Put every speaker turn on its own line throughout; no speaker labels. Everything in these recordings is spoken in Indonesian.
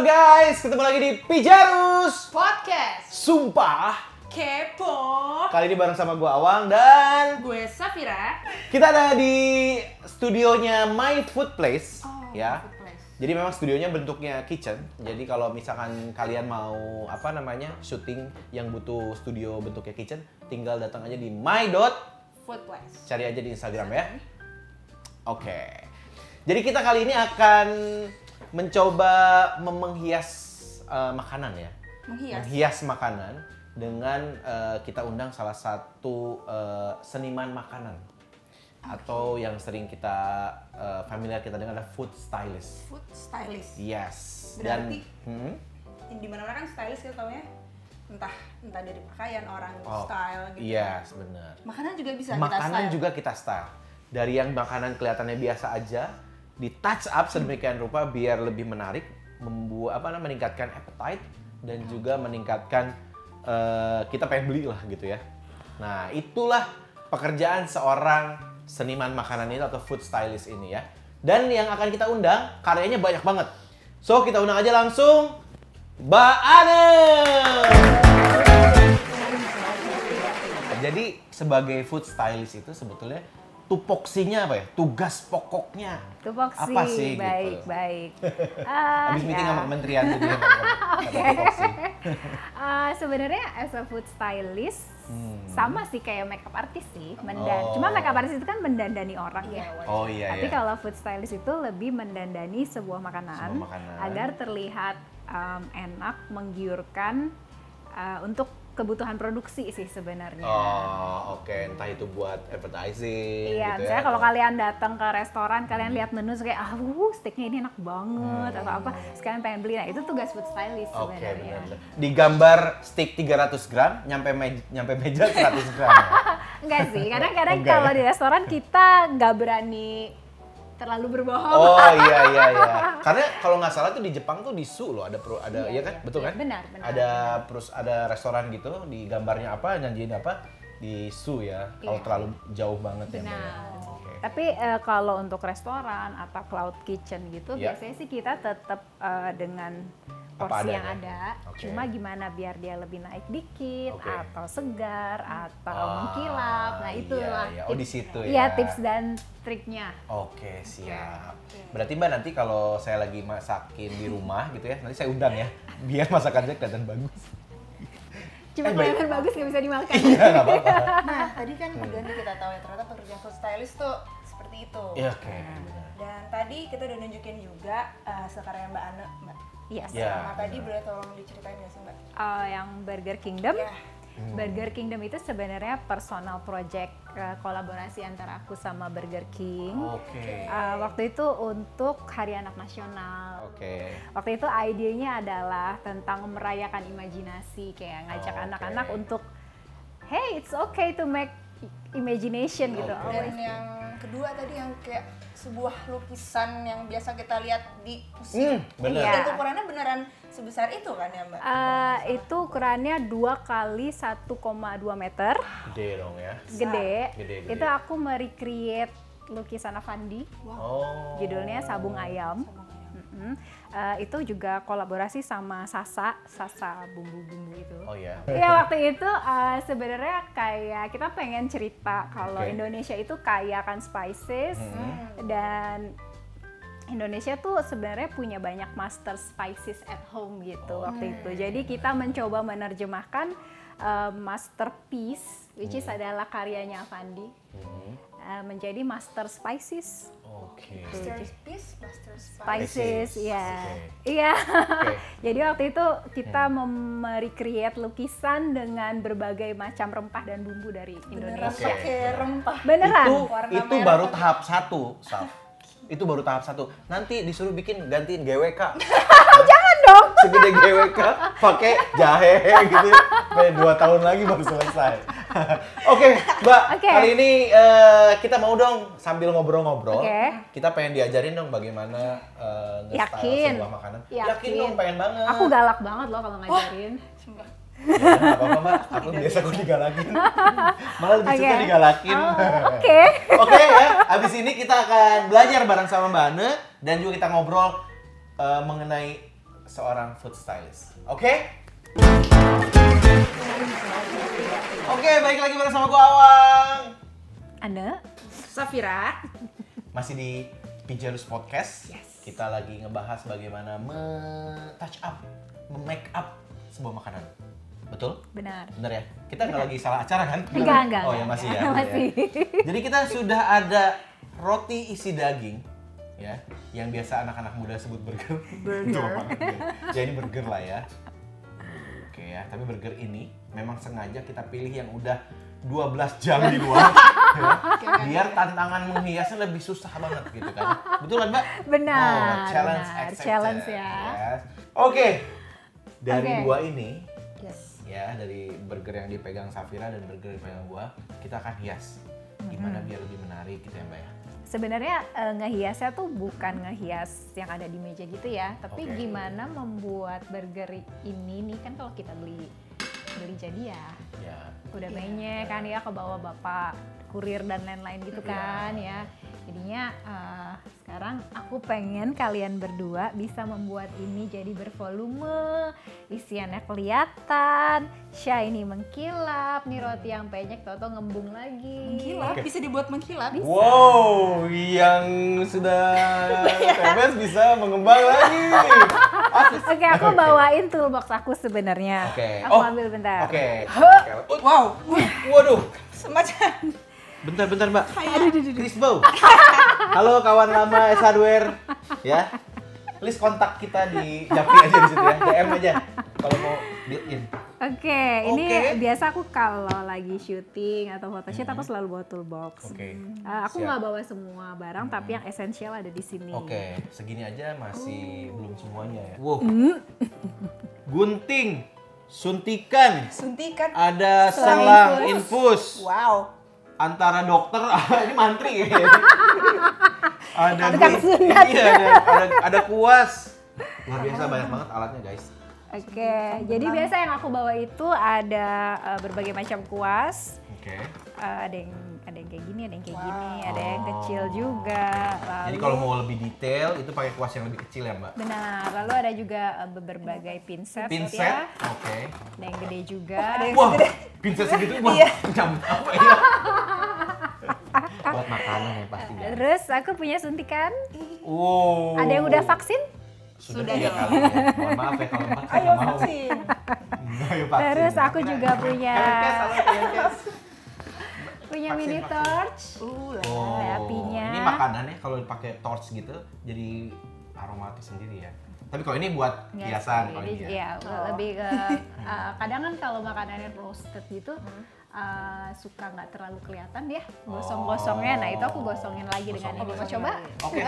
guys, ketemu lagi di Pijarus
Podcast
Sumpah
Kepo
Kali ini bareng sama gue Awang dan
Gue Safira
kita ada di studionya My Food Place
Oh,
ya.
My Food Place.
Jadi memang studionya bentuknya kitchen. Jadi kalau misalkan kalian mau apa namanya syuting yang butuh studio bentuknya kitchen, tinggal datang aja di my dot
Food Place
cari aja di Instagram ya. Oke. Jadi kita kali ini akan mencoba mem- menghias eh, makanan ya.
Menghias.
makanan dengan eh, kita undang salah satu eh, seniman makanan atau yang sering kita eh, familiar kita dengan ada food stylist.
Food Stylist
Yes.
Berarti?
Dan hmm?
Di mana mana kan stylist kita taunya Entah entah dari pakaian orang
Oh,
style gitu
Yes, benar.
Makanan juga bisa kita
makanan
style
juga kita style dari yang makanan kelihatannya biasa aja di touch up sedemikian rupa biar lebih menarik membuat apa namanya meningkatkan appetite dan juga meningkatkan eh, kita pengen beli lah gitu ya nah itulah pekerjaan seorang seniman makanan itu atau food stylist ini ya dan yang akan kita undang karyanya banyak banget so kita undang aja langsung Mbak Ane Jadi sebagai food stylist itu sebetulnya tupoksinya apa ya? Tugas pokoknya.
Tupoksi,
Apa sih
baik,
gitu?
baik. Ah,
Habis meeting
ya.
sama kementerian jadi apa? Ada tupoksi.
Ah, sebenarnya as a food stylist sama sih kayak makeup artist sih, mendan.
Hmm. Oh.
Cuma makeup artist itu kan mendandani orang
Iya,
ya.
wajar.
Oh iya
Tapi
iya.
kalau food stylist itu lebih mendandani sebuah makanan,
Sebuah makanan.
agar terlihat um, enak, menggiurkan uh, untuk kebutuhan produksi sih sebenarnya.
Oh, oke, entah itu buat advertising gitu
Iya,
ya.
misalnya kalau
atau-
kalian datang ke restoran, kalian lihat menu terus kayak ah, wuh, steaknya ini enak banget atau apa, sekalian pengen beli. Nah, itu tugas food stylist
Oke,
sebenarnya. iya.
benar. benar. Di gambar steak 300 gram nyampe me- nyampe meja 100 gram. ya?
Enggak sih, kadang-kadang
Enggak
kalau
ya?
di restoran kita nggak berani terlalu berbohong.
Oh iya iya iya. Karena kalau nggak salah tuh di Jepang tuh di Su loh ada pro ada iya,
Iya,
kan?
iya.
Betul
Iya,
kan?
benar, benar,
Ada terus ada restoran gitu di gambarnya apa, janjiin apa di Su ya. Kalau
Iya.
terlalu jauh banget ya. Mbak, ya.
Benar.
Oke.
Tapi eh, kalau untuk restoran atau cloud kitchen gitu,
Iya.
biasanya sih kita tetap eh, dengan
Apa
porsi yang
adanya.
ada.
Oke.
Cuma gimana biar dia lebih naik dikit,
Oke.
atau segar, atau
Ah,
mengkilap. Nah
iya,
itulah.
iya. Oh, di
tips-
situ
Iya
ya.
tips dan triknya.
Oke, siap. Berarti Mbak nanti kalau saya lagi masakin di rumah gitu ya, nanti saya undang ya biar masakannya kelihatan bagus.
Cuma
Eh, baik.
kelihatan bagus nggak bisa dimakan.
Iya, nggak apa-apa.
Nah tadi kan
Hmm.
udah nih kita tahu ya Ternyata pekerjaan food stylist tuh seperti itu
Iya, oke. benar.
Dan tadi kita udah nunjukin juga eh, Sekarang Mbak Ana Mbak
Yes.
Iya,
Sama tadi
benar.
boleh tolong diceritain gak sih Mbak?
Eh, yang Burger Kingdom.
Ya.
Hmm.
Burger Kingdom itu sebenarnya personal project eh, kolaborasi antara aku sama Burger King.
Oke.
Eh, waktu itu untuk Hari Anak Nasional.
Oke.
Waktu itu idenya adalah tentang merayakan imajinasi, kayak
Ah,
ngajak
Oke.
anak-anak untuk, hey it's okay to make imagination gitu.
Oke.
Oh,
Dan yang kedua tadi yang kayak sebuah lukisan yang biasa kita lihat di
Hmm,
museum.
bener.
Dan
Iya.
ukurannya beneran sebesar itu kan ya mbak?
eh, itu ukurannya 2 kali 1,2 meter,
Gede dong ya.
gede.
Gede, gede.
Itu aku merecreate lukisan Avandi,
Oh.
judulnya Sabung Ayam. Mm-mm. Eh, itu juga kolaborasi sama Sasa, Sasa bumbu-bumbu itu.
Oh ya.
Iya waktu itu eh, sebenarnya kayak kita pengen cerita kalau
Oke.
Indonesia itu kaya akan spices dan Indonesia tuh sebenarnya punya banyak master spices at home gitu waktu itu. Jadi kita mencoba menerjemahkan eh, masterpiece which is adalah karyanya Avandi eh, menjadi master spices.
Oke.
Masterpiece, master spice.
Spices,
Spices,
iya.
oke.
Iya.
Oke. Hmm.
Jadi waktu itu kita mem- merecreate lukisan dengan berbagai macam rempah dan bumbu dari
Beneran
Oke.
Indonesia.
pakai rempah.
Beneran.
Itu
Warna
itu
merah
baru
tadi.
tahap satu, Saf. itu baru tahap satu. Nanti disuruh bikin gantiin GWK.
Jangan dong.
Segede GWK pakai jahe gitu. Sampai dua tahun lagi baru selesai. Oke, Mbak.
Oke.
Kali ini eh, kita mau dong sambil ngobrol-ngobrol.
Oke.
Kita pengen diajarin dong bagaimana eh, nge-style
Yakin.
sebuah makanan.
Yakin.
dong, pengen banget. Ya,
Aku galak banget loh kalau ngajarin.
Sumpah.
Gak apa-apa, Mbak. Aku biasa kok digalakin. Malah lebih suka
Oke.
digalakin.
Oh, Oke.
Oke ya, abis ini kita akan belajar bareng sama Mbak Ane dan juga kita ngobrol eh, mengenai seorang food stylist. Oke? Oke, baik lagi bersama gua Awang.
Ane,
Safira.
Masih di Pijarus Podcast. Kita lagi ngebahas bagaimana me-touch up, me-make up sebuah makanan. Betul?
benar.
Bener ya? Kita nggak lagi salah acara kan?
Enggak, enggak.
Oh ya masih ya.
Masih.
Jadi kita sudah ada roti isi daging ya, yang biasa anak-anak muda sebut burger. Itu apa? Burger. ya ini burger lah ya. Oke ya, tapi burger ini memang sengaja kita pilih yang udah 12 jam di luar. ya. Biar tantangan menghiasnya lebih susah banget gitu kan. Betul kan, Mbak?
Benar,
Oh, challenge
benar.
accepted.
Challenge ya.
Yes. Oke. Dari
Oke.
dua ini
Yes.
ya dari burger yang dipegang Safira dan burger yang dipegang gua kita akan hias gimana biar lebih menarik gitu ya mbak ya
Sebenarnya eh, ngehiasnya tuh bukan ngehias yang ada di meja gitu ya, tapi
Oke.
gimana membuat burger ini nih kan kalau kita beli beli jadi ya
ya
udah
Iya.
banyak kan ya ke bawah bapak kurir dan lain-lain gitu
Iya.
kan ya. Jadinya eh, sekarang aku pengen kalian berdua bisa membuat ini jadi bervolume, isiannya kelihatan, shiny mengkilap, nih roti yang penyek toto ngembung lagi.
Hmm. Mengkilap, bisa dibuat mengkilap.
wow yang sudah PMS bisa mengembang lagi oke
Oke, aku bawain toolbox aku sebenarnya.
Oke.
Aku
Oh,
ambil bentar.
oke
Wow,
waduh
semacam
bentar bentar mbak
kayak
Chris Bow halo kawan lama S Hardware ya list kontak kita di Japri aja di situ ya DM aja kalau mau built in
Oke, ini
Oke. Hmm.
biasa aku kalau lagi syuting atau photoshoot aku selalu bawa toolbox. Eh,
Siap.
aku
Hmm.
nggak bawa semua barang, tapi yang esensial ada di sini.
Oke, segini aja masih belum semuanya ya. Wow. Gunting, suntikan,
suntikan.
ada selang infus
Wow.
antara dokter ah, ini mantri ya. ada
Tukang
gun-
sunat.
Iya, ada, ada, ada kuas. Luar biasa banyak banget alatnya guys.
Oke, jadi biasa yang aku bawa itu ada eh, berbagai macam kuas.
Oke.
Eh, ada yang ada yang kayak gini, ada yang kayak
Wow.
gini, ada yang kecil juga. Lalu,
Jadi kalau mau lebih detail itu pakai kuas yang lebih kecil ya mbak.
benar, lalu ada juga eh, berbagai pinset, ya.
Pinset, oke.
Ada yang gede juga.
Wah, pinset segitu wah,
Iya.
nyambut apa ya? Buat makanan ya pasti guys.
Terus aku punya suntikan.
Wow.
Ada yang udah vaksin?
Sudah,
Sudah
tiga
dong.
kali ya. Mohon maaf ya kalau empat saya
Ayo
nggak mau. ya,
vaksin.
Ayo vaksin.
Terus aku juga punya
Kemenkes, halo, Kemenkes.
punya
Vaksin,
mini
vaksin.
torch.
Uh, lah.
Oh,
Ada apinya.
ini makanannya kalau dipakai torch gitu jadi aromatis sendiri ya. Tapi kalau ini buat
Nggak
hiasan
sih,
kalau
dia-
ini ya.
iya,
Oh.
lebih ke uh, kadang kan kalau makanannya roasted gitu
Hmm.
uh, suka nggak terlalu kelihatan ya
Oh.
gosong-gosongnya. Nah, itu aku gosongin lagi dengan ini. Mau
Gosongin,
coba?
Oke.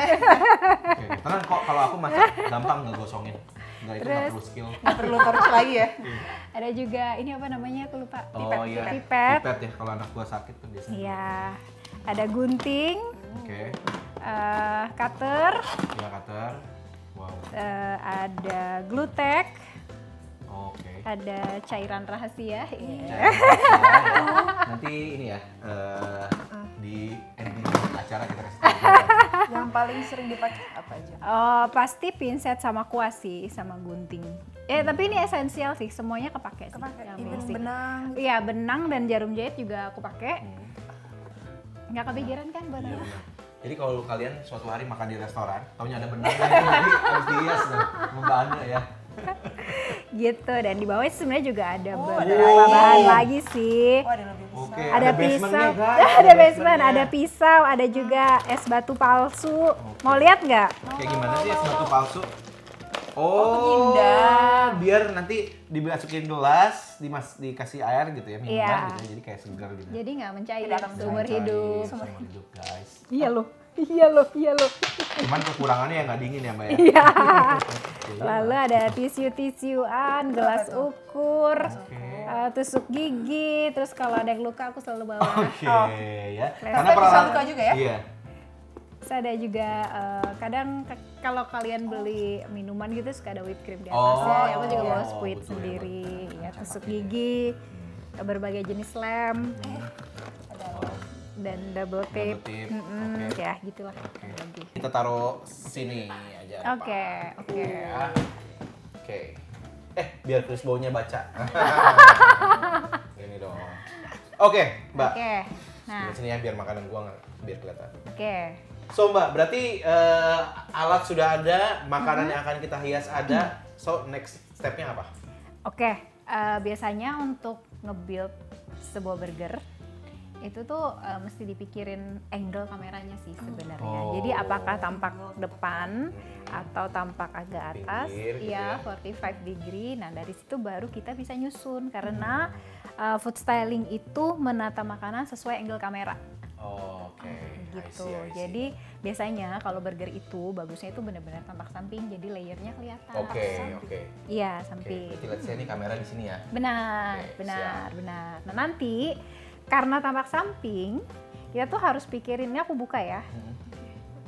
Oke, tenang kok kalau aku masak gampang nggak gosongin. Nggak itu nggak
Terus-
perlu skill.
Nggak perlu torch lagi ya.
Ada juga ini apa namanya? Aku lupa.
Oh iya,
Pipet.
pipet ya kalau anak gua sakit tuh biasanya.
Iya. Ada gunting,
Oke,
uh, cutter,
ya cutter. Wow.
uh, ada glue tack,
Oke.
ada cairan rahasia. Iya.
Jangan lupa ya. nanti ini ya eh, di ending acara kita kasih tahu.
Iya,
Yang paling sering dipakai apa aja?
Oh, pasti pinset sama kuas sih, sama gunting. Eh, tapi ini esensial sih, semuanya kepake sih.
Kepake.
yang
Even
basic.
benang.
Iya, benang dan jarum jahit juga aku pakai.
Hmm,
Nggak kepikiran kan buat
iya,
apa?
benar. Jadi kalau kalian suatu hari makan di restoran, taunya ada benang ya, jadi harus dihias nih, membahannya ya.
Gitu, dan di bawah itu sebenarnya juga ada
Oh, ada
beberapa
lagi.
bahan lagi sih.
Oh, ada lebih besar.
Oke,
ada,
ada
pisau,
basementnya, guys,
ada
ada
basement,
basementnya.
ada pisau, ada juga es batu palsu. Mau lihat nggak?
Kayak gimana sih es batu palsu?
Oh,
Oh,
pengindar.
biar nanti dimasukin gelas, dimas dikasih air gitu ya, minuman gitu
Iya.
ya, jadi kayak segar gitu.
Jadi nggak mencair
Tidak akan
seumur
Santai,
hidup.
Seumur hidup, guys.
Iya loh, iya loh, iya loh.
Cuman kekurangannya ya nggak dingin ya, Mbak ya.
Iya.
Jadi,
Lalu ada tisu-tisuan, gelas ukur,
Oke.
eh, tusuk gigi, terus kalau ada yang luka aku selalu bawa.
Oke ya.
Tapi bisa
peralatan-
luka juga ya?
Iya.
Terus ada juga eh, kadang ke- kalau kalian beli minuman gitu suka ada whipped cream di
Oh,
atasnya. ya, aku juga bawa
betul, Nah,
squid
betul,
sendiri,
betul.
ya,
Cakep
tusuk
ini.
gigi, berbagai jenis lem
Ada
dan double tape.
tape,
Mm-mm,
oke.
Ya, gitulah. Oke,
Kita taruh sini aja. Pak.
oke.
Ya. Eh, biar Chris Bow-nya baca. Ini dong. Oke, Mbak.
Oke. Nah,
Sini, sini ya biar makanan gua nggak biar kelihatan.
oke.
So Mbak, berarti eh, alat sudah ada, makanan yang
Mm-hmm.
akan kita hias ada. So next stepnya apa?
Oke, eh, biasanya untuk nge-build sebuah burger itu tuh eh, mesti dipikirin angle kameranya sih sebenarnya.
Oh.
Jadi apakah tampak depan atau tampak agak atas?
Pinggir gitu
Iya,
ya.
45 degree. Nah, dari situ baru kita bisa nyusun karena eh, food styling itu menata makanan sesuai angle kamera
Oh, Oke. I
gitu.
see, I see.
Jadi biasanya kalau burger itu bagusnya itu benar-benar tampak samping jadi layernya kelihatan.
Oke, oke.
Iya,
Oke,
samping.
berarti let's say ini kamera di sini ya.
Benar,
Oke,
benar, benar. Nah nanti karena tampak samping, kita tuh harus pikirin, ini aku buka ya.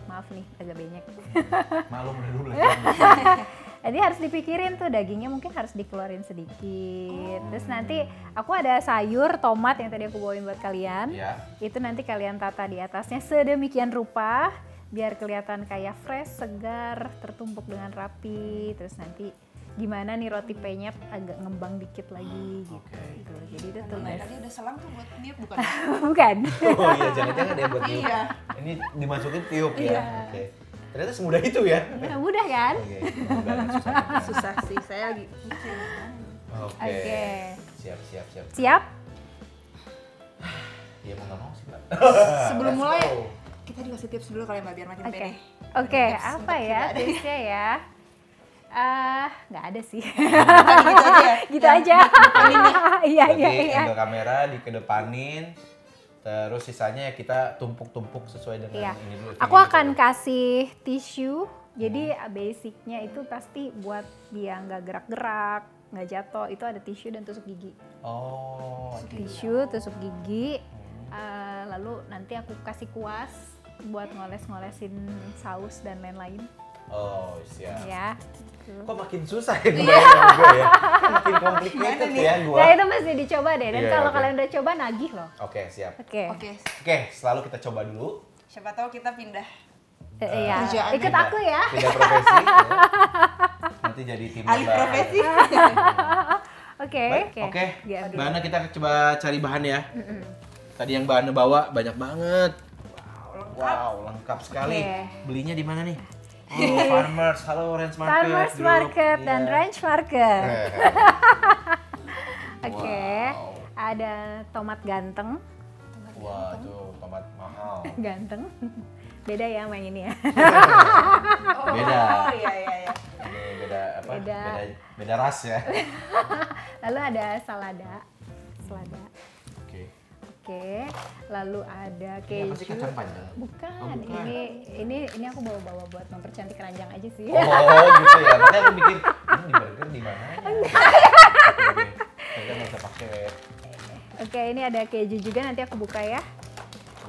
Maaf nih, agak banyak.
Malu udah dulu
Jadi harus dipikirin tuh dagingnya mungkin harus dikeluarin sedikit. Terus
Oh.
nanti aku ada sayur, tomat yang tadi aku bawain buat kalian.
Iya.
Itu nanti kalian tata di atasnya sedemikian rupa biar kelihatan kayak fresh, segar, tertumpuk dengan rapi. Terus nanti gimana nih roti peynya agak ngembang dikit lagi gitu.
Hmm, Oke.
Jadi itu tuh
Lumayan tadi udah selang tuh buat niat bukan?
bukan
Oh iya, jangan-jangan dia buat tiup.
Iya.
Ini dimasukin tiup
Iya.
ya. Oke. Ternyata semudah itu ya.
Nah, mudah kan
Oke, semoga nggak susah.
Susah sih, saya lagi pusing.
Oke.
Oke.
Siap, siap, siap.
siap
Iya mau nggak mau sih, Mbak. Let's
Sebelum
ya?
mulai,
go.
kita dikasih tips dulu kali Mbak biar makin
oke
pede.
oke
Tips
apa
untuk
ya
tidak ada.
tipsnya ya eh nggak ada sih
Tadi gitu aja ya.
gitu aja iya iya
Berarti
iya
angle kamera dikedepanin, terus sisanya ya kita tumpuk-tumpuk sesuai dengan
Iya.
ini dulu. Hmm.
aku akan kasih tisu jadi eh, basicnya itu pasti buat dia nggak gerak-gerak nggak jatuh itu ada tisu dan tusuk gigi
Oh, oke.
tisu tusuk gigi eh, lalu nanti aku kasih kuas buat ngoles-ngolesin saus dan lain-lain
oh siap.
ya
Kok makin susah ya
Iya.
kebayang sama gue ya? Kan Makin complicated ya gue.
Nah itu mesti dicoba deh. Dan
Iya,
kalau
oke.
kalian udah coba nagih loh.
Oke, siap.
Oke.
Oke,
Oke, selalu kita coba dulu.
siapa tahu kita pindah.
Eh, Iya.
Kerjaan
Ikut
Pindah-
aku ya.
Pindah profesi. ya. Nanti jadi tim
Alih
Mbak.
profesi. Oh,
Oke.
Baik, Oke,
Ya,
Mbak Ana kita coba cari bahan ya. Tadi yang Mbak Ana bawa banyak banget. Wow, lengkap sekali.
Oke.
Belinya di mana nih? Oh, farmers, halo Ranch Market.
Farmers
Group.
Market dan
Iya.
Ranch Market. Oke.
Wow.
Ada tomat ganteng.
Wah, tuh tomat mahal.
Ganteng. Beda ya main ini ya.
Oh,
Beda.
Oh iya iya iya.
Ini beda apa?
Beda.
Beda, beda ras ya.
Lalu ada salada. Selada.
Oke.
Oke. Lalu
Ini
ada keju.
apa sih kacang panjang?
Bukan.
Oh, bukan.
Ini ini ini aku bawa-bawa buat mempercantik ranjang aja
Oh,
sih.
gitu ya. Makanya aku mikir, ini di burger di mana? Kita nggak usah pakai.
Oke, ini ada keju juga nanti aku buka ya.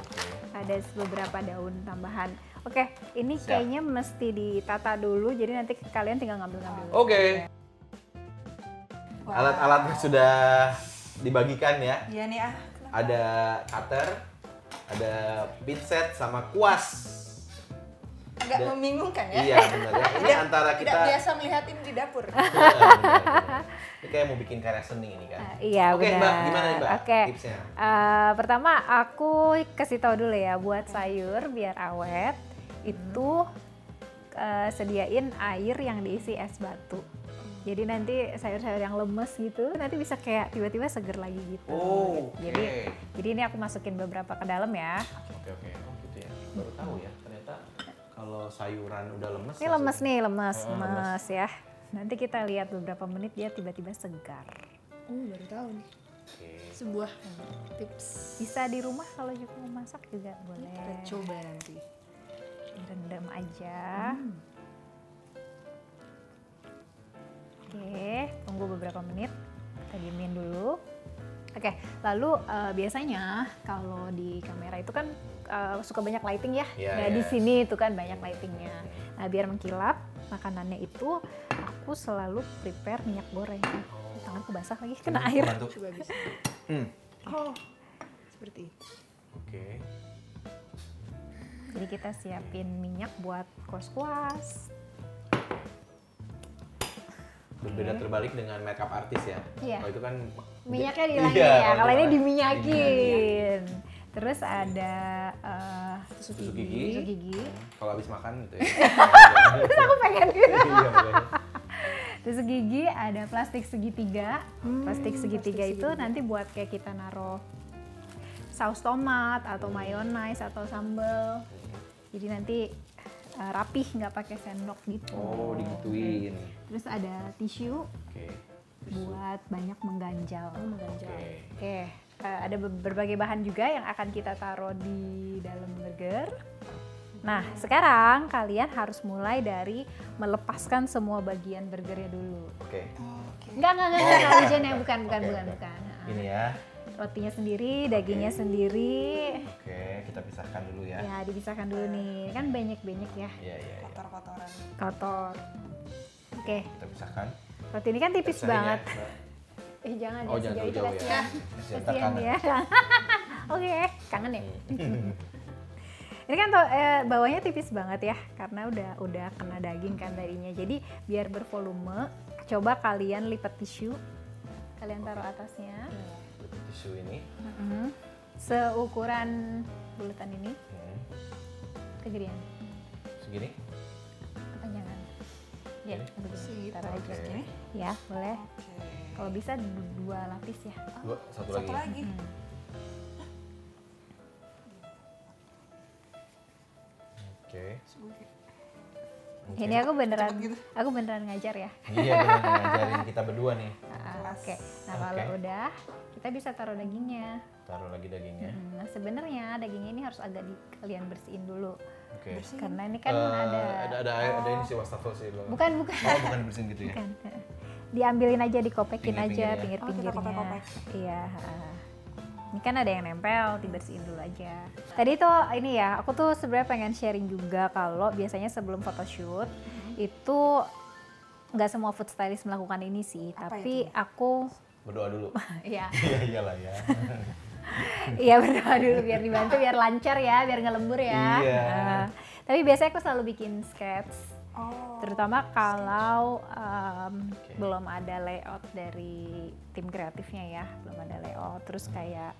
Oke.
ada beberapa daun tambahan. Oke, ini
Siap.
kayaknya mesti ditata dulu, jadi nanti kalian tinggal ngambil-ngambil.
Oke.
Wah.
Alat-alatnya sudah dibagikan ya.
Iya nih ah.
Ada cutter, ada pinset sama kuas.
Agak
Ada-
membingungkan ya.
Iya benar ya. Ini antara kita
Tidak biasa melihatin di dapur.
Iya, benar, benar. Ini kayak mau bikin karya seni ini kan.
Ah, iya,
Oke,
benar.
Mbak, gimana nih, Mbak?
Oke.
Tipsnya?
Eh, pertama aku kasih tahu dulu ya buat sayur biar awet itu eh, sediain air yang diisi es batu. Jadi nanti sayur-sayur yang lemes gitu nanti bisa kayak tiba-tiba seger lagi gitu.
Oh, oke.
Jadi jadi ini aku masukin beberapa ke dalam ya.
Oke, oke. Oh, gitu ya. Baru tahu ya, ternyata kalau sayuran udah lemes.
Ini lemes
langsung-
nih, lemes,
Ah, lemes.
lemes ya. Nanti kita lihat beberapa menit dia tiba-tiba segar.
Oh baru tahu nih.
Oke.
Sebuah tips.
Bisa di rumah kalau juga mau masak juga boleh.
Kita coba nanti.
Direndam aja. Oke, tunggu beberapa menit. Kita diemin dulu. Oke, lalu eh, biasanya kalau di kamera itu kan eh, suka banyak lighting ya.
Iya,
nah, di
iya.
sini itu kan banyak lightingnya. Nah, biar mengkilap makanannya itu aku selalu prepare minyak goreng. Tanganku basah lagi kena air.
Bantu.
Coba bisa.
Hmm.
Oh seperti itu.
Oke.
Jadi kita siapin minyak buat kuas-kuas.
Berbeda terbalik dengan makeup artis ya.
Iya.
Kalau itu kan
minyaknya
Iya,
dihilangin ya. Kalau ini diminyakin. Terus ada eh,
Tusuk
Tusuk
gigi.
gigi.
gigi.
Kalau habis makan gitu ya.
Terus aku pengen gitu.
Iya, boleh.
Tusuk gigi ada plastik segitiga. Hmm, plastik segitiga itu nanti buat kayak kita naruh saus tomat atau mayonnaise atau sambal. Jadi nanti eh, rapih nggak pakai sendok gitu.
Oh, digituin.
Terus ada tisu
Oke.
buat banyak mengganjal.
Oh, mengganjal.
Oke.
Oke, eh, ada be- berbagai bahan juga yang akan kita taruh di dalam burger. Nah, sekarang kalian harus mulai dari melepaskan semua bagian burgernya dulu.
Oke.
Oke.
Enggak, enggak, enggak, enggak, enggak, Jen, ya. bukan, bukan,
Oke,
bukan,
oke.
bukan. Ah,
Ini ya.
Rotinya sendiri, dagingnya sendiri.
Oke, kita pisahkan dulu ya.
Ya, dipisahkan dulu nih. Kan banyak-banyak ya,
Iya, iya, iya.
Kotor-kotoran.
kotor. Oke,
Kita pisahkan.
roti ini kan tipis
Pisahin ya,
banget.
Mbak.
Eh, jangan
Oh,
ya,
jangan
sejauh
terlalu jauh
itu
ya.
kasihan.
Kasihan, ntar
Kasihan
kangen.
ya. Oke, kangen ya. Ini kan to- eh, bawahnya tipis banget ya, karena udah udah kena daging kan tadinya. Jadi biar bervolume, coba kalian lipat tisu, kalian taruh atasnya, ya.
Butuh Tisu ini.
Mhm. seukuran bulatan ini
Hmm.
kegedean,
Segini.
kepanjangan. Ya,
Ini?
begini. Taruh aja.
Oke.
Ya, boleh.
Oke.
Kalau bisa du- dua lapis ya.
Dua, satu,
Satu
lagi.
lagi.
Oke. Oke.
Ini aku beneran,
Cepet gitu.
aku beneran ngajar ya.
Iya, benar ngajarin kita berdua nih.
Ah, Oke, nah
Oke.
kalau udah kita bisa taruh dagingnya.
Taruh lagi dagingnya.
Hmm, Nah sebenarnya dagingnya ini harus agak di, kalian bersihin dulu,
Oke.
karena ini kan
Eh,
ada, Oh.
ada ada ada ini sih wastafel sih lo.
bukan bukan
Oh, bukan bersin gitu ya.
bukan, diambilin aja dikopekin
Pinggir-pinggir
aja
ya.
pinggir
Oh,
pinggirnya.
kita kopek-kopek.
Iya. ah. Ini kan ada yang nempel, dibersihin dulu aja. Tadi tuh ini ya, aku tuh sebenarnya pengen sharing juga kalau biasanya sebelum photoshoot itu nggak semua food stylist melakukan ini sih,
Apa
tapi aku
Berdoa dulu.
ya
Iya, iyalah ya.
Iya berdoa dulu biar dibantu, biar lancar ya, biar nggak lembur ya.
Iya.
Nah, tapi biasanya aku selalu bikin sketch,
Oh.
terutama kalau um,
Oke.
belum ada layout dari tim kreatifnya ya, belum ada layout. Terus kayak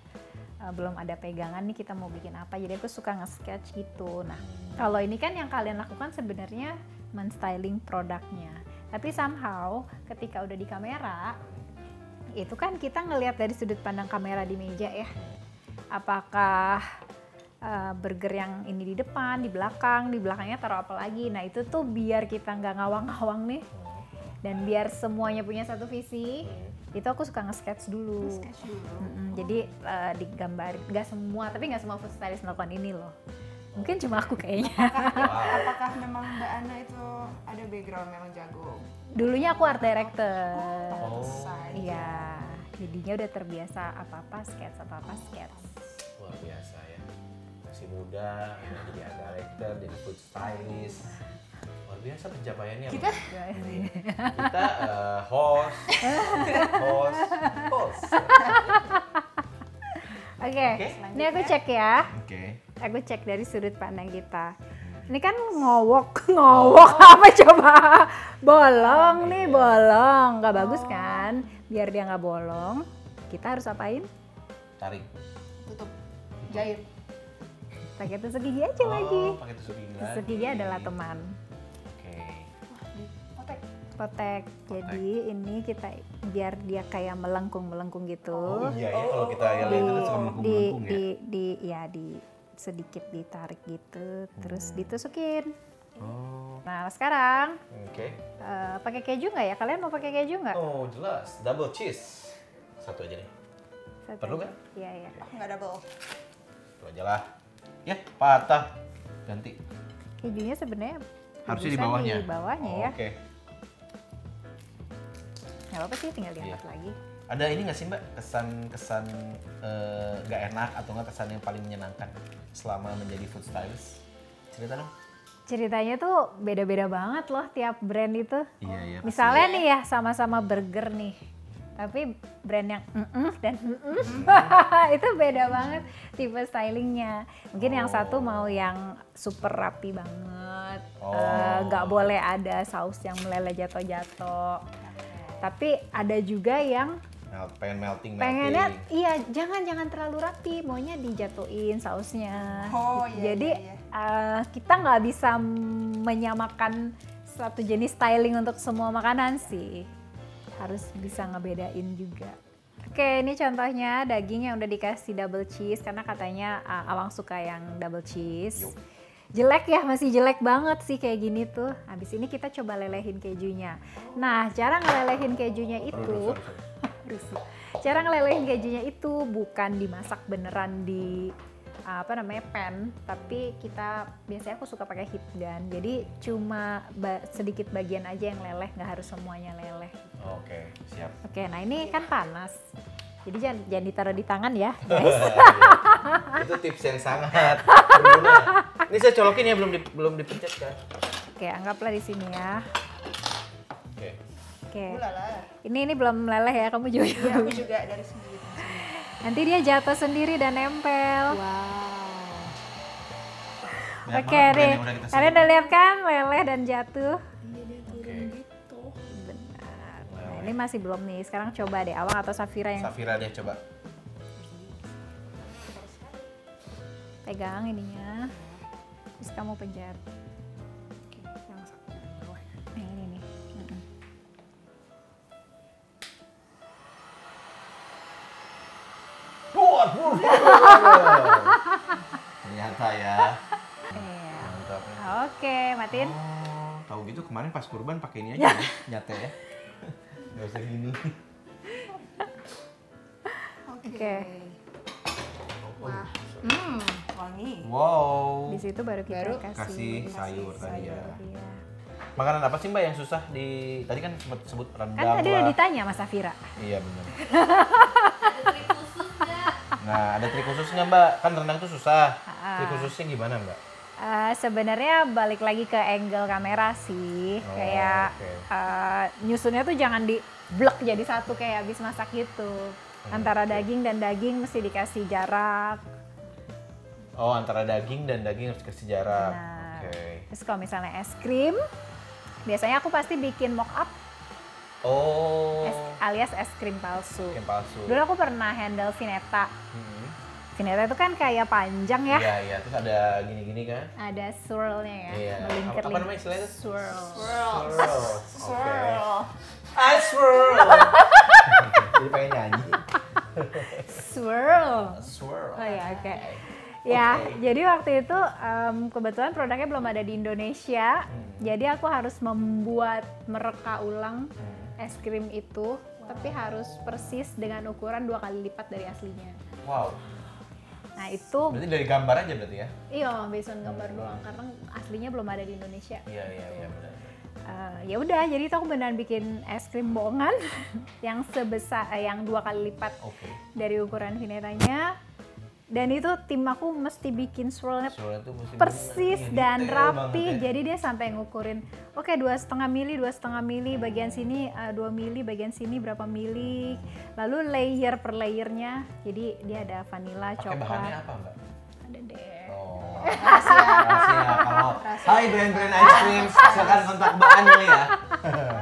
uh, belum ada pegangan nih kita mau bikin apa. Jadi aku suka nge-sketch gitu. Nah, kalau ini kan yang kalian lakukan sebenarnya men-styling produknya. Tapi somehow ketika udah di kamera, itu kan kita ngelihat dari sudut pandang kamera di meja ya apakah uh, burger yang ini di depan di belakang di belakangnya taruh apa lagi nah itu tuh biar kita nggak ngawang-ngawang nih
Hmm.
dan biar semuanya punya satu visi itu aku suka nge-sketch dulu
Sketch dulu.
Mm-mm, jadi uh, digambarin nggak semua tapi nggak semua food stylist melakukan ini loh mungkin cuma aku kayaknya
Wow.
Apakah memang Mbak Ana itu ada background memang jago?
dulunya aku art director
Oh.
Desain.
Iya, jadinya udah terbiasa apa-apa sketch, apa-apa sketch.
Luar biasa ya. Masih muda, akhirnya jadi art director, jadi food stylist. Luar biasa pencapaiannya. Kita
Iya.
kita eh, host, host, host.
Oke,
Oke.
ini aku cek ya.
Oke.
Aku cek dari sudut pandang kita. Ini kan ngowok, ngowok apa coba? Bolong nih, bolong. Gak bagus kan? Biar dia nggak bolong, kita harus apain?
Tarik.
Tutup. Jahit.
Pakai tusuk gigi aja lagi.
Oh, pakai tusuk gigi lagi.
Tusuk gigi adalah teman.
Oke.
Potek.
Potek. Jadi ini kita biar dia kayak melengkung-melengkung
Oh
gitu.
iya ya kalau kita yang lain itu suka
oh, di
melengkung-melengkung ya.
di di ya di sedikit ditarik gitu
Hmm.
terus ditusukin
Oh.
nah sekarang
Oke.
eh, pakai keju nggak ya kalian mau pakai keju nggak
Oh jelas, double cheese. Satu aja nih.
Satu
perlu
aja.
nggak?
iya iya
Aku nggak double.
Satu aja lah. Ya, patah. Ganti.
kejunya sebenarnya
Harusnya di
bisa
bawahnya.
di bawahnya
Oh,
ya
Oke.
nggak apa sih tinggal diangkat
Iya.
lagi
Ada ini nggak sih Mbak kesan-kesan eh, nggak enak atau nggak kesan yang paling menyenangkan selama menjadi food stylist? Cerita dong.
ceritanya tuh beda-beda banget loh tiap brand itu
Iya iya.
misalnya nih ya sama-sama burger nih tapi brand yang mm dan mm itu beda banget tipe stylingnya mungkin yang satu mau yang super rapi banget eh,
Oh.
nggak boleh ada saus yang meleleh jatuh-jatuh Tapi ada juga yang
Mel- pengen melting melting.
pengennya iya jangan jangan terlalu rapi maunya dijatuhin sausnya
Oh, iya,
jadi
iya, iya.
eh, kita nggak bisa menyamakan satu jenis styling untuk semua makanan sih harus bisa ngebedain juga Oke, ini contohnya daging yang udah dikasih double cheese karena katanya eh, Awang suka yang double cheese.
Yuk.
Jelek ya, masih jelek banget sih kayak gini tuh. Habis ini kita coba lelehin kejunya. Nah, cara ngelelehin kejunya itu
Aduh, sorry, sorry.
Rusuh. Cara ngelelehin kejunya itu bukan dimasak beneran di apa namanya pan, tapi kita biasanya aku suka pakai heat gun. Jadi cuma ba- sedikit bagian aja yang leleh, nggak harus semuanya leleh.
Oke, siap.
Oke, nah ini kan panas. Jadi jangan jangan ditaruh di tangan ya, guys.
Itu tips yang sangat berguna. Ini saya colokin ya belum di, belum dipencet kan.
Oke, anggaplah di sini ya.
Oke.
Oke.
Ulala.
Ini ini belum leleh ya, kamu juga.
Iya, aku juga dari sendiri.
Nanti dia jatuh sendiri dan nempel.
Wow.
Banyak banget
Oke,
brand
deh.
yang udah kita
Kalian
sebut.
udah lihat kan leleh dan jatuh?
Iya dia turun
Oke.
gitu.
Benar. Nah, ini masih belum nih. Sekarang coba deh Awang atau Safira yang
Safira deh coba.
pegang ininya. Terus kamu pencet. Yang sa- Nah, ini nih. Mm-mm.
Buat, buat, buat. Ternyata ya.
Iya.
Mantap ya.
Oke, matiin.
Oh, tahu gitu kemarin pas kurban pakai ini aja ya, nyate ya. Gak usah gini.
Oke.
Oke.
Wah,
Hmm.
wangi.
Wow.
Di situ baru kita
Baru
kasih,
Kasih sayur tadi ya.
Iya.
Makanan apa sih Mbak yang susah di tadi kan sempat sebut rendang
Kan tadi udah
lah.
ditanya Mas Safira.
Iya benar. Nah, ada trik khusus nggak Mbak? Kan rendang tuh susah.
Ah.
Trik khususnya gimana Mbak?
Eh, Sebenarnya balik lagi ke angle kamera sih,
Oh,
kayak
oke.
eh, nyusunnya tuh jangan di blok jadi satu kayak habis masak gitu. Antara daging dan daging mesti dikasih jarak.
Oh, antara daging dan daging harus kasih jarak.
Benar.
Oke.
Terus kalau misalnya es krim, biasanya aku pasti bikin mock up
Oh,
es- alias es krim palsu.
yang palsu.
Dulu aku pernah handle vineta.
Hmm.
Vineta itu kan kayak panjang ya.
Iya, iya. Terus ada gini-gini kan?
Ada swirlnya ya,
Iya.
melingkar
Apa- apa namanya istilahnya?
Swirl.
Swirl.
Swirl.
Swirl.
I swirl. Jadi pengen nyanyi.
Swirl.
Swirl.
Oh ya, oke. Ya,
Oke.
jadi waktu itu em, kebetulan produknya belum ada di Indonesia.
Hmm.
Jadi aku harus membuat mereka ulang
Hmm.
es krim itu, tapi harus persis dengan ukuran dua kali lipat dari aslinya.
Wow.
Nah, itu
Berarti dari gambar aja berarti ya?
iya based on gambar doang karena aslinya belum ada di Indonesia.
Iya, iya, iya benar.
Eh, ya udah, jadi itu aku beneran bikin es krim bohongan yang sebesar eh, yang dua kali lipat
Oke.
dari ukuran vinetanya. Dan itu tim aku mesti bikin swirlnya
Swirl itu mesti bener.
persis
Iya,
dan
detail
rapi
banget ya.
jadi dia sampai ngukurin oke dua setengah mili dua setengah mili bagian sini eh, dua mili bagian sini berapa mili lalu layer per layernya jadi dia ada vanilla
Pakai bahannya
coklat
apa, Mbak?
ada deh
Oh.
Rahasia.
Rahasia kalau Hai brand-brand ice cream, silakan kontak Mbak Anil ya. Oke. Iya,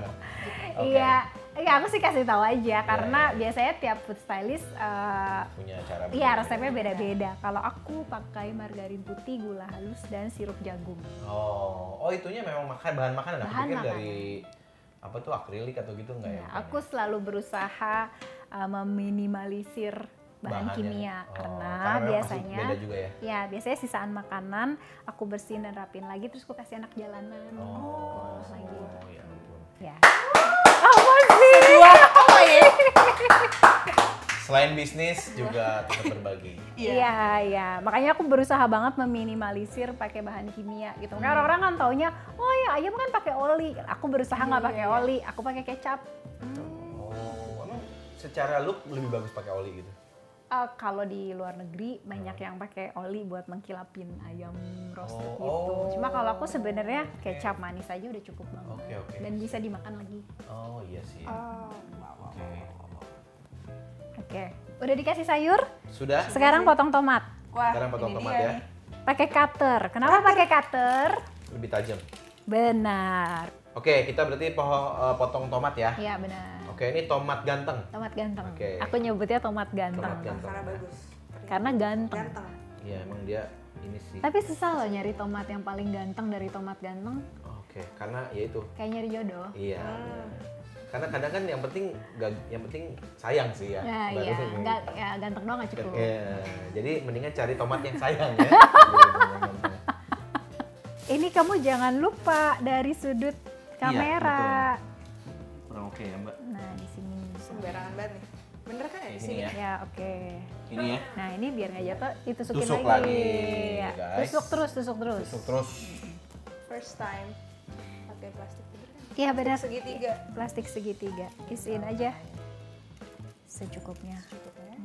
iya Iya, aku sih kasih tahu aja karena biasanya tiap food stylist eh,
Punya cara
Iya
berbeda.
resepnya beda-beda. Kalau aku pakai margarin putih, gula halus, dan sirup jagung.
Oh, oh itunya memang makan bahan makanan. Aku
Bahan
pikir dari apa tuh akrilik atau gitu enggak ya?
Ya, aku selalu berusaha uh, meminimalisir bahan
Bahannya.
kimia
Oh,
karena
memang pasti
biasanya
beda juga ya.
ya biasanya sisaan makanan aku bersihin dan rapin lagi terus aku kasih anak jalanan.
Oh,
Olah lagi.
ya ampun.
Ya. Apa sih?
Apa ya?
Selain bisnis juga tetap berbagi.
Iya.
Iya, iya. Makanya aku berusaha banget meminimalisir pakai bahan kimia gitu.
Hmm.
Karena orang-orang kan taunya, oh ya ayam kan pakai oli. Aku berusaha nggak
Iya,
pakai oli, aku pakai kecap. Hmm.
Oh, emang secara look lebih bagus pakai oli gitu.
Eh, kalau di luar negeri banyak yang pakai oli buat mengkilapin ayam roasted
Oh,
gitu.
oh.
Cuma kalau aku sebenarnya kecap manis aja udah cukup banget.
Oke, oke.
Dan bisa dimakan lagi.
Oh, iya sih.
Oh, wow, wow.
Oke.
Oke. Udah dikasih sayur?
Sudah?
Sekarang potong tomat.
Wah,
Sekarang potong
ini
tomat
dia
ya.
nih.
Pakai cutter. Kenapa pakai cutter?
Lebih tajam.
Benar.
Oke, kita berarti poho- eh, potong tomat ya.
Iya, benar.
Oke, Oke, ini tomat ganteng.
Tomat ganteng.
Oke.
Aku nyebutnya tomat ganteng.
Tomat ganteng.
Karena bagus.
Karena ganteng.
Ganteng.
Iya, emang dia ini sih.
Tapi susah loh nyari tomat yang paling ganteng dari tomat ganteng.
Oke, karena ya itu.
Kayak nyari jodoh.
Iya. Karena kadang kan yang penting gag- yang penting sayang sih ya.
Ya,
Baru
iya.
sih kayak
Nggak,
gitu.
ya, ganteng doang nggak cukup.
Iya, jadi mendingan cari tomat yang sayang ya.
Ini kamu jangan lupa dari sudut
Iya,
kamera.
Kurang oke ya, Mbak.
nah, di sini.
Sembarangan banget nih. Bener kan ya di
Ini
sini?
ya.
Ya, oke.
Ini ya.
Nah, ini biar nggak jatuh, ditusukin
Tusuk
lagi.
lagi,
Ya,
guys.
Tusuk terus, tusuk terus.
Tusuk terus.
First time pakai plastik bener kan?
Iya, benar.
Segitiga.
Plastik segitiga. Isiin aja. Secukupnya.
Cukup ya.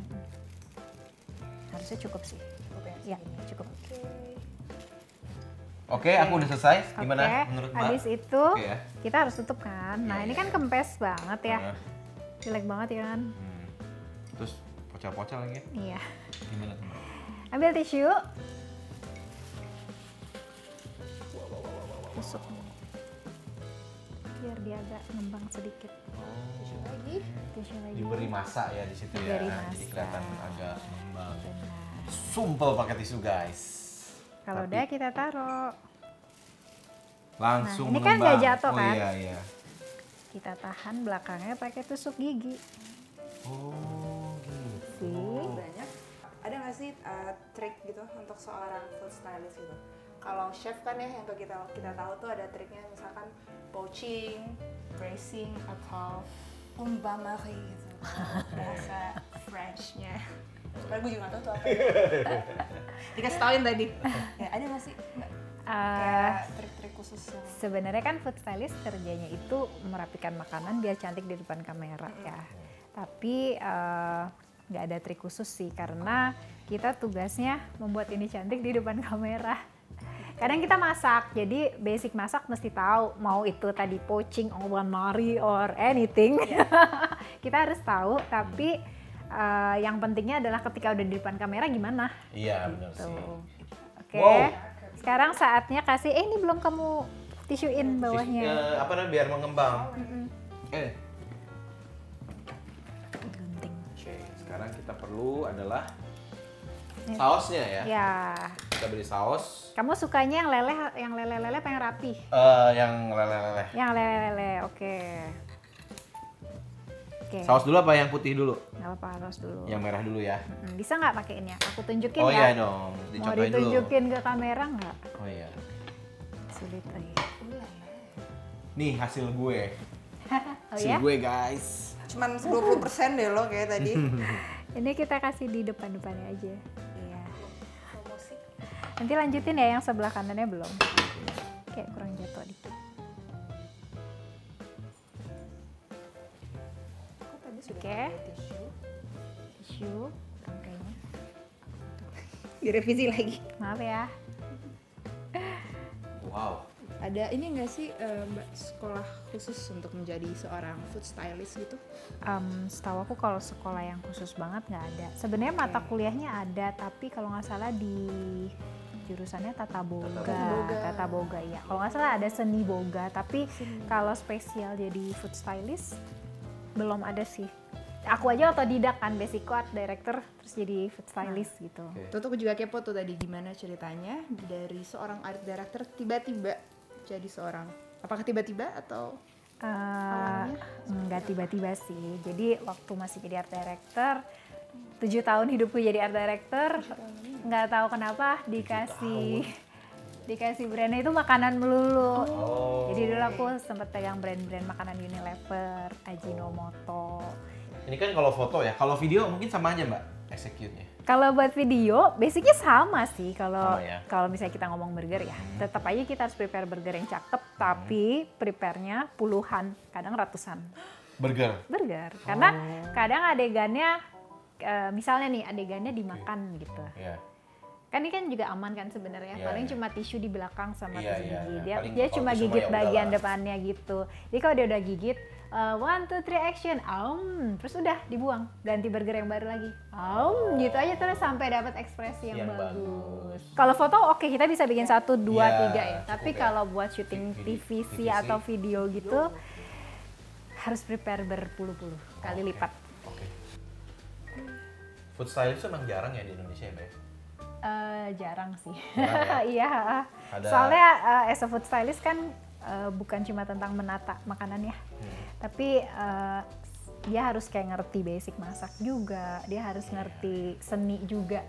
Harusnya cukup sih.
Cukup ya.
Ya, cukup.
Oke.
Oke, aku udah selesai. Gimana
Oke,
menurut Mbak?
Habis itu
Oke ya.
kita harus tutup kan.
Iya,
Nah, ini
iya,
kan
iya.
kempes banget ya.
Nah,
Jelek banget ya kan?
hmm. Terus pocah-pocah lagi ya.
Iya.
Gimana tuh, Mbak?
Ambil tisu. Tusuk. Biar dia agak ngembang sedikit.
Oh.
Tisu lagi.
Tisu lagi.
Diberi masa ya di situ ya.
Diberi
Jadi
masa.
kelihatan agak ngembang.
Benar.
Sumpel pakai tisu, guys.
Kalau
Tapi
udah kita taruh.
langsung
Nah, ini kan
mengembang.
nggak jatuh,
oh,
kan?
iya, iya.
Kita tahan belakangnya pakai tusuk gigi.
Oh, gitu.
Sih.
Banyak. Ada nggak sih uh, trik gitu untuk seorang food stylist gitu? Kalau chef kan ya yang kita kita tahu tuh ada triknya misalkan poaching, bracing atau on bain marie gitu bahasa Frenchnya. Padahal gue juga nggak tahu tuh apa. ya. Dikasih tauin tadi. Ya, ada nggak sih Mbak,
Eh,
kayak trik-trik khusus yang
Sebenarnya kan food stylist kerjanya itu merapikan makanan biar cantik di depan kamera ya. Tapi eh, nggak ada trik khusus sih karena kita tugasnya membuat ini cantik di depan kamera. Kadang kita masak, jadi basic masak mesti tahu mau itu tadi poaching, oven mari or anything.
Iya.
kita harus tahu, tapi eh, yang pentingnya adalah ketika udah di depan kamera gimana
Iya, benar
Tuh.
sih.
Gitu. Oke.
Wow.
Sekarang saatnya kasih eh ini belum kamu tisuin
Tis-
bawahnya.
eh, apa namanya biar mengembang. Eh,
Gunting.
oke. Sekarang kita perlu adalah
Ini.
sausnya ya.
Ya.
Kita beli saus
Kamu sukanya yang leleh yang leleh-leleh pengen rapi.
eh, yang leleh-leleh.
Yang leleh-leleh. Oke. Oke.
Saus dulu apa yang putih dulu?
Nggak apa-apa harus dulu.
Yang merah dulu ya.
Mm, Bisa nggak pakainya? Aku tunjukin
oh
ya.
iya dong,
Mau
dicobain dulu.
ditunjukin ke kamera nggak?
Oh iya.
Sulit eh.
Nih hasil gue.
Oh
hasil
ya.
gue guys.
cuman 20% deh lo kayak tadi.
Ini kita kasih di depan-depannya aja. Iya.
Promosi.
Nanti lanjutin ya yang sebelah kanannya belum. Kayak kurang jatuh dikit.
Aku tadi sudah
Oke.
pakai tisu.
Tisu rangkainya.
Direvisi lagi.
Maaf ya.
Wow.
Ada ini nggak sih eh, mbak sekolah khusus untuk menjadi seorang food stylist gitu?
Em, setahu aku kalau sekolah yang khusus banget nggak ada. Sebenarnya mata
Oke.
kuliahnya ada, tapi kalau nggak salah di jurusannya tata boga,
Tata
boga.
tata boga ya. Kalau nggak salah ada seni boga, tapi kalau spesial jadi food stylist belum ada sih. Aku aja otodidak kan, basic art director, terus jadi food stylist gitu.
Nah. Oke.
Tuh aku juga kepo tuh tadi gimana ceritanya dari seorang art director tiba-tiba jadi seorang apakah tiba-tiba atau
Eh, nggak tiba-tiba sih. Jadi waktu masih jadi art director, tujuh tahun hidupku jadi art director, nggak tahu kenapa dikasih dikasih brandnya itu makanan melulu.
Oh.
Jadi dulu aku sempet pegang brand-brand makanan Unilever, Ajinomoto.
Ini kan kalau foto ya, kalau video mungkin sama aja mbak, execute-nya.
Kalau buat video, basicnya sama sih. Kalau
Sama ya. Hmm.
kalau misalnya kita ngomong burger ya, tetap aja kita harus prepare burger yang cakep, tapi prepare-nya puluhan, kadang ratusan.
Burger.
burger karena kadang adegannya eh, misalnya nih adegannya dimakan gitu
Iya.
kan ini kan juga aman kan sebenarnya
Iya,
paling
iya.
cuma tisu di belakang sama
Iya, iya,
tisu gigi
iya.
dia
Paling
dia
kalau
cuma
tisu mah
gigit
ya
bagian
udahlah.
depannya gitu jadi kalau dia udah gigit eh, one two three action aum terus udah dibuang ganti burger yang baru lagi aum gitu aja terus sampai dapat ekspresi yang,
Yang
bagus,
bagus.
kalau foto oke kita bisa bikin satu dua
Iya,
tiga ya tapi
cukup ya.
kalau buat syuting
Vid- vid-
TVC
TVC.
atau video gitu harus prepare berpuluh-puluh kali
Oke.
lipat.
Oke. Food stylist tuh emang jarang ya di Indonesia ya, Mbak? ya?
Eh, jarang sih.
Jarang ya?
Iya.
Ada-
Soalnya eh, as a food stylist kan eh, bukan cuma tentang menata makanan ya,
Hmm.
tapi eh, dia harus kayak ngerti basic masak juga, dia harus
Iya.
ngerti seni juga,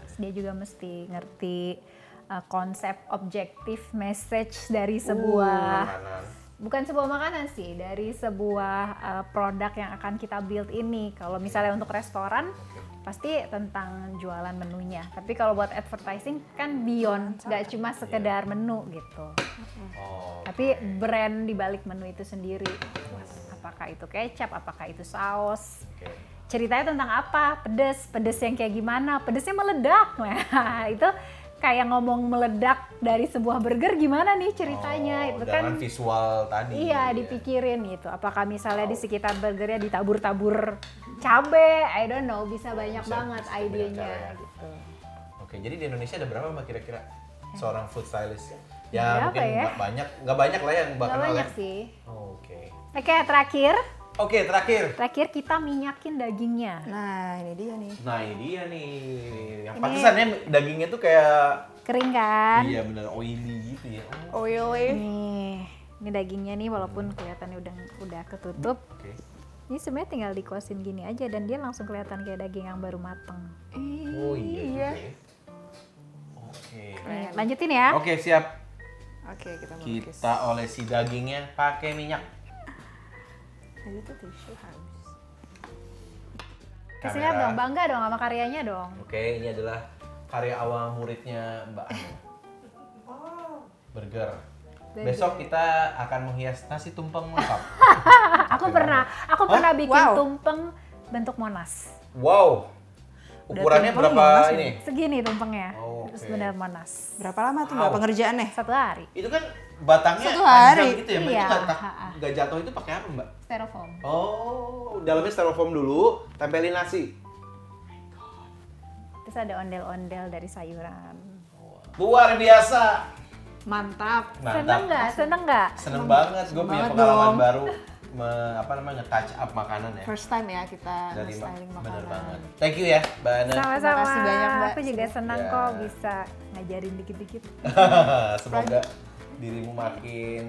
Terus dia juga mesti ngerti eh, konsep, objektif, message dari sebuah
Makanan.
bukan sebuah makanan sih dari sebuah uh, produk yang akan kita build ini kalau misalnya untuk restoran pasti tentang jualan menunya tapi kalau buat advertising kan beyond nggak cuma sekedar menu gitu
Oh.
tapi brand di balik menu itu sendiri apakah itu kecap apakah itu saus
Oke.
ceritanya tentang apa pedes pedes yang kayak gimana pedesnya meledak nah itu kayak ngomong meledak dari sebuah burger gimana nih
Oh,
ceritanya itu kan
dengan visual tadi.
Iya
gitu ya.
dipikirin gitu. Apakah misalnya di sekitar burgernya ditabur-tabur cabe? I don't know. Bisa banyak
bisa- bisa
banget
banyak
idenya
cara ya.
gitu.
Oke, jadi di Indonesia ada berapa mbak kira-kira seorang food stylist?
Eh. Berapa
Ya mungkin
ya?
nggak banyak, nggak banyak lah yang mbak
Gak
kenal.
banyak
ya.
sih.
Oke,
Oke terakhir,
oke terakhir.
terakhir kita minyakin dagingnya.
Nah ini dia nih.
Nah ini dia nih, yang pantesannya dagingnya tuh kayak
Kering kan?
iya bener oily gitu ya. Oh,
Oily.
Nih, ini dagingnya nih walaupun kelihatannya udah udah ketutup.
Oke,
Ini sebenarnya tinggal dikuasin gini aja dan dia langsung kelihatan kayak daging yang baru mateng.
oh iya.
Iya.
juga ya. Oke,
Nih, lanjutin ya.
oke siap.
Oke kita melukis.
Kita olesi dagingnya pakai minyak.
Jadi Nah, tuh tisu habis.
Kasihnya
Kamera.
dong, bangga dong sama karyanya dong.
Oke, ini adalah karya awal muridnya Mbak Anu. Burger.
Burger.
Besok kita akan menghias nasi tumpeng lengkap.
aku pernah aku pernah bikin
Wow.
tumpeng bentuk monas
wow. Ukurannya
tumpeng
berapa
Monas ya?
ini?
segini tumpengnya
Oh,
terus
oke.
benar monas
Berapa lama tuh mbak
Wow.
pengerjaan nih?
satu hari
Itu kan batangnya
Satu hari.
panjang gitu ya, Mbak. Itu
Iya,
nggak tak-
ha-ha.
nggak jatuh itu pakai apa, Mbak?
styrofoam
Oh, dalamnya styrofoam dulu, tempelin nasi.
terus ada ondel-ondel dari sayuran
Luar biasa.
Mantap.
seneng
Mantap.
nggak seneng nggak
Seneng banget, gue punya
banget
pengalaman
dong.
baru me- apa namanya nge-touch up makanan ya.
First time ya kita
Dari Mbak.
styling makanan.
Bener banget. Thank you ya, Mbak Ana.
sama-sama
Terima kasih banyak, Mbak.
aku juga senang
Ya.
kok bisa ngajarin dikit-dikit
Semoga dirimu makin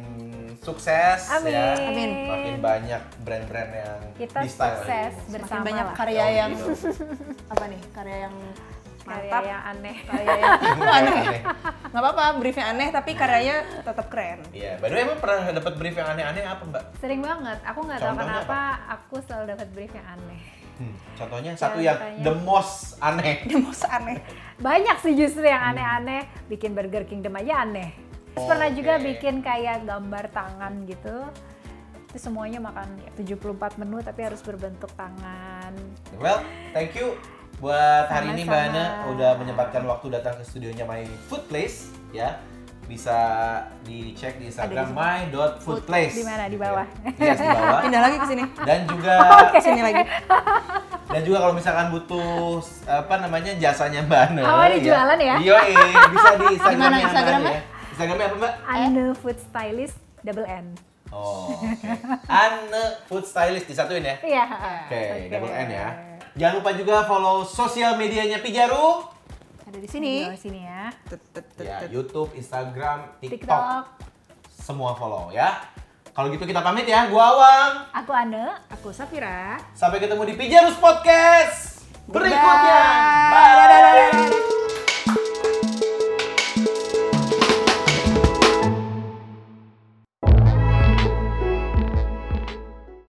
sukses ya.
amin
Amin.
Makin banyak brand-brand yang
kita
di-style
sukses
dirimu.
Makin
bersama
banyak
lah
karya
Oh,
yang
gitu.
apa nih? Karya yang
karya
mantap.
yang aneh
Karya yang aneh.
Aneh.
Gak apa-apa, briefnya aneh tapi karyanya tetap keren.
Iya, by the way emang pernah dapat brief yang aneh-aneh apa, Mbak?
sering banget aku nggak tahu
Contohnya
kenapa aku selalu dapat brief yang aneh
Hmm, contohnya satu
Jangan
yang
tanya.
the most aneh.
Dia mau aneh.
banyak sih justru
Hmm.
yang aneh-aneh bikin Burger Kingdom aja aneh terus pernah
Oh, Oke.
juga bikin kayak gambar tangan gitu itu semuanya makan ya, 74 menu tapi harus berbentuk tangan
Well, thank you buat hari ini Mbak Ana
Sama-sama.
udah menyempatkan waktu datang ke studionya My Food Place ya. Bisa dicek di Instagram my.foodplace.
Di mana? Di bawah. Oh,
Yes, di bawah.
Pindah lagi ke sini.
Dan juga
Sini lagi.
Dan juga kalau misalkan butuh apa namanya jasanya Mbak Ana.
Oh, ada jualan ya?
Yoi, iya. bisa di Instagramnya Mbak
Instagramnya?
Ana ya. Instagramnya apa Mbak?
Eh?
Anu Food Stylist double N
Oh, oke. Anne Food Stylist disatuin ya.
iya
Oke, double N ya. Jangan lupa juga follow sosial medianya Pijaru.
Ada di
ini
sini.
sini ya
Tut, tut, tut,
Ya,
tut.
YouTube, Instagram, TikTok,
TikTok
semua follow ya. Kalau gitu kita pamit ya. Gua Awang.
aku Ane
Aku Safira.
Sampai ketemu di Pijarus Podcast berikutnya.
Bye.